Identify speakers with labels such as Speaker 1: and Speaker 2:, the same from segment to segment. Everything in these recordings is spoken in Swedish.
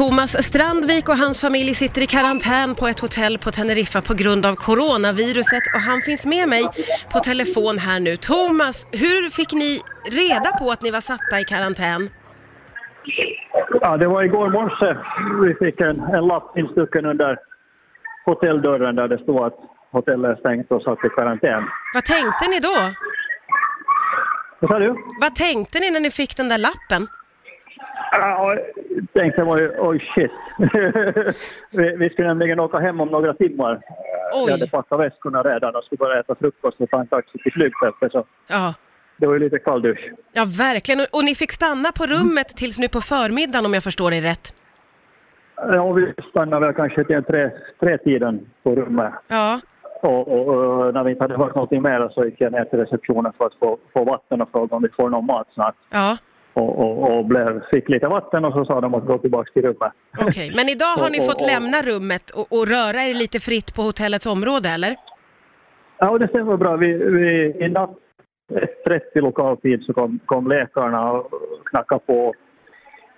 Speaker 1: Thomas Strandvik och hans familj sitter i karantän på ett hotell på Teneriffa på grund av coronaviruset och han finns med mig på telefon här nu. Thomas, hur fick ni reda på att ni var satta i karantän?
Speaker 2: Ja, det var igår morse vi fick en, en lapp instucken under hotelldörren där det stod att hotellet är stängt och satt i karantän.
Speaker 1: Vad tänkte ni då?
Speaker 2: Vad sa du?
Speaker 1: Vad tänkte ni när ni fick den där lappen?
Speaker 2: Ja, jag tänkte var ju, oj shit. vi, vi skulle nämligen åka hem om några timmar.
Speaker 1: Oj.
Speaker 2: Vi hade packat väskorna redan och skulle bara äta frukost och ta en taxi till flygfältet så
Speaker 1: Ja,
Speaker 2: det var ju lite kalldusch.
Speaker 1: ja verkligen. Och, och ni fick stanna på rummet tills nu på förmiddagen om jag förstår dig rätt?
Speaker 2: Ja, vi stannade väl kanske till en tre, tre tiden på rummet
Speaker 1: Ja.
Speaker 2: och, och, och när vi inte hade hört någonting mer så gick jag ner till receptionen för att få, få vatten och fråga om vi får någon mat snart.
Speaker 1: Ja,
Speaker 2: och, och, och blev, fick lite vatten och så sa de att gå tillbaka till rummet.
Speaker 1: okej. Men idag har ni
Speaker 2: Och- och-
Speaker 1: fått
Speaker 2: och-
Speaker 1: lämna rummet och, och röra er lite fritt på hotellets område, eller?
Speaker 2: Ja, och det stämmer bra. Vi, vi, I natt 1.30 lokal tid så kom, kom läkarna och knackade på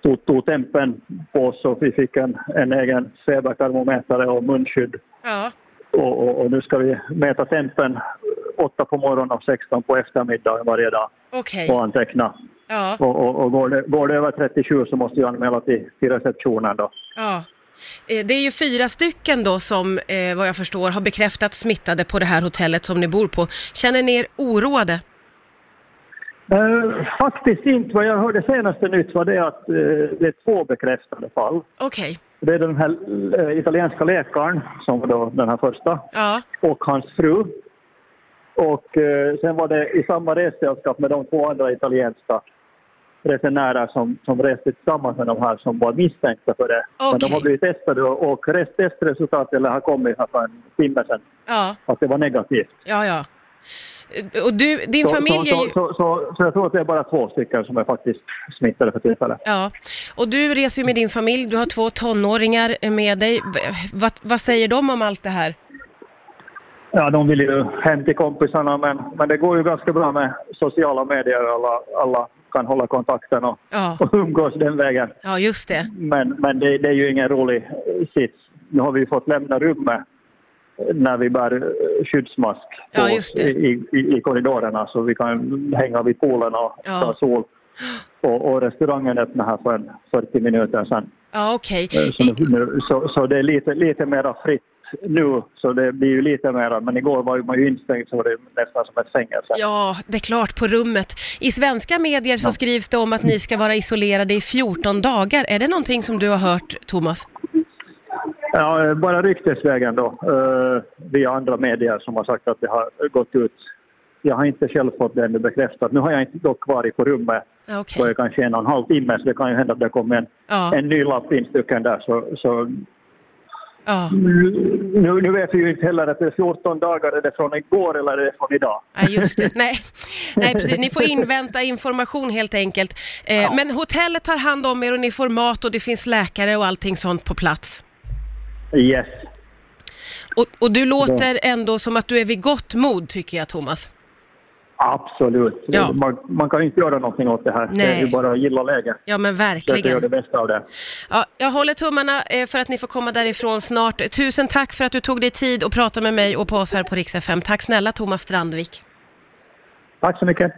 Speaker 2: tog, tog tempen på oss och vi fick en, en egen febertermometare och munskydd.
Speaker 1: Ja.
Speaker 2: Och, och, och nu ska vi mäta tempen 8 på morgonen och 16 på eftermiddagen varje dag
Speaker 1: Okej.
Speaker 2: och anteckna.
Speaker 1: Ja.
Speaker 2: Och, och, och går, det, går det över 37 så måste vi anmäla till, till receptionen då.
Speaker 1: Ja. Eh, Det är ju fyra stycken då som, eh, vad jag förstår, har bekräftat smittade på det här hotellet som ni bor på. Känner ni er oroade?
Speaker 2: Eh, faktiskt inte. Vad jag hörde senaste nytt var det att eh, det är två bekräftade fall.
Speaker 1: Okej.
Speaker 2: Det är den här eh, italienska läkaren, som var då den här första,
Speaker 1: Ja.
Speaker 2: och hans fru. Och eh, sen var det i samma ressällskap med de två andra italienska resenärer som, som reste tillsammans med de här som var misstänkta för det. Men
Speaker 1: Okej.
Speaker 2: de har blivit testade och, och rest- testresultatet har kommit här för en timme sedan
Speaker 1: Ja.
Speaker 2: att det var negativt.
Speaker 1: Ja, ja. Eh, Och du, din
Speaker 2: så,
Speaker 1: familj är
Speaker 2: så,
Speaker 1: ju...
Speaker 2: så, så, så, så jag tror att det är bara två stycken som är faktiskt smittade för tillfället.
Speaker 1: Ja. Och du reser ju med din familj, du har två tonåringar eh, med dig. V- Vad, vad säger de om allt det här?
Speaker 2: Ja, de vill ju hem till kompisarna, men, men det går ju ganska bra med sociala medier. Alla, alla kan hålla kontakten och,
Speaker 1: Ja,
Speaker 2: och umgås den vägen.
Speaker 1: ja just det.
Speaker 2: Men, men det, det är ju ingen rolig eh, sits. Nu har vi ju fått lämna rummet när vi bär eh, skyddsmask på
Speaker 1: Ja,
Speaker 2: oss
Speaker 1: just det.
Speaker 2: I, i, i korridorerna så vi kan hänga vid poolen och
Speaker 1: Ja.
Speaker 2: ta sol. Och, och restaurangen öppnade här för en 40 minuter sedan.
Speaker 1: Ja, okej.
Speaker 2: Eh, Så,
Speaker 1: I-
Speaker 2: nu, så, så det är lite, lite mera fritt nu, så det blir ju lite mera. Men igår var ju man ju instängd så var det nästan som ett fängelse.
Speaker 1: Ja, det är klart, på rummet. I svenska medier så
Speaker 2: Ja.
Speaker 1: skrivs det om att ni ska vara isolerade i 14 dagar. Är det någonting som du har hört, Thomas?
Speaker 2: Ja, eh, bara ryktesvägen då, eh, via andra medier som har sagt att det har gått ut. Jag har inte själv fått det ännu bekräftat. Nu har jag inte dock varit på rummet
Speaker 1: Ja, Okej.
Speaker 2: på kanske en och en halv timme, så det kan ju hända att det kommer en,
Speaker 1: Ja,
Speaker 2: en ny lapp instucken där. Så, så
Speaker 1: ja.
Speaker 2: nu, nu vet vi ju inte heller att det är 14 dagar, är det från igår eller är det från idag?
Speaker 1: Ja, just det. Nej. Nej, precis. Ni får invänta information helt enkelt. Eh,
Speaker 2: Ja.
Speaker 1: Men hotellet tar hand om er och ni får mat och det finns läkare och allting sånt på plats.
Speaker 2: Yes.
Speaker 1: Och, och du låter ändå som att du är vid gott mod, tycker jag, Thomas.
Speaker 2: Absolut.
Speaker 1: Ja.
Speaker 2: Man, man kan inte göra någonting åt det här. Det är
Speaker 1: Nej.
Speaker 2: ju bara att gilla läget.
Speaker 1: Ja, men
Speaker 2: Försöka göra
Speaker 1: verkligen.
Speaker 2: det bästa av det.
Speaker 1: Ja, jag håller tummarna eh, för att ni får komma därifrån snart. Tusen tack för att du tog dig tid och pratade med mig och på oss här på Rix FM. Tack snälla Thomas Strandvik.
Speaker 2: Tack så mycket.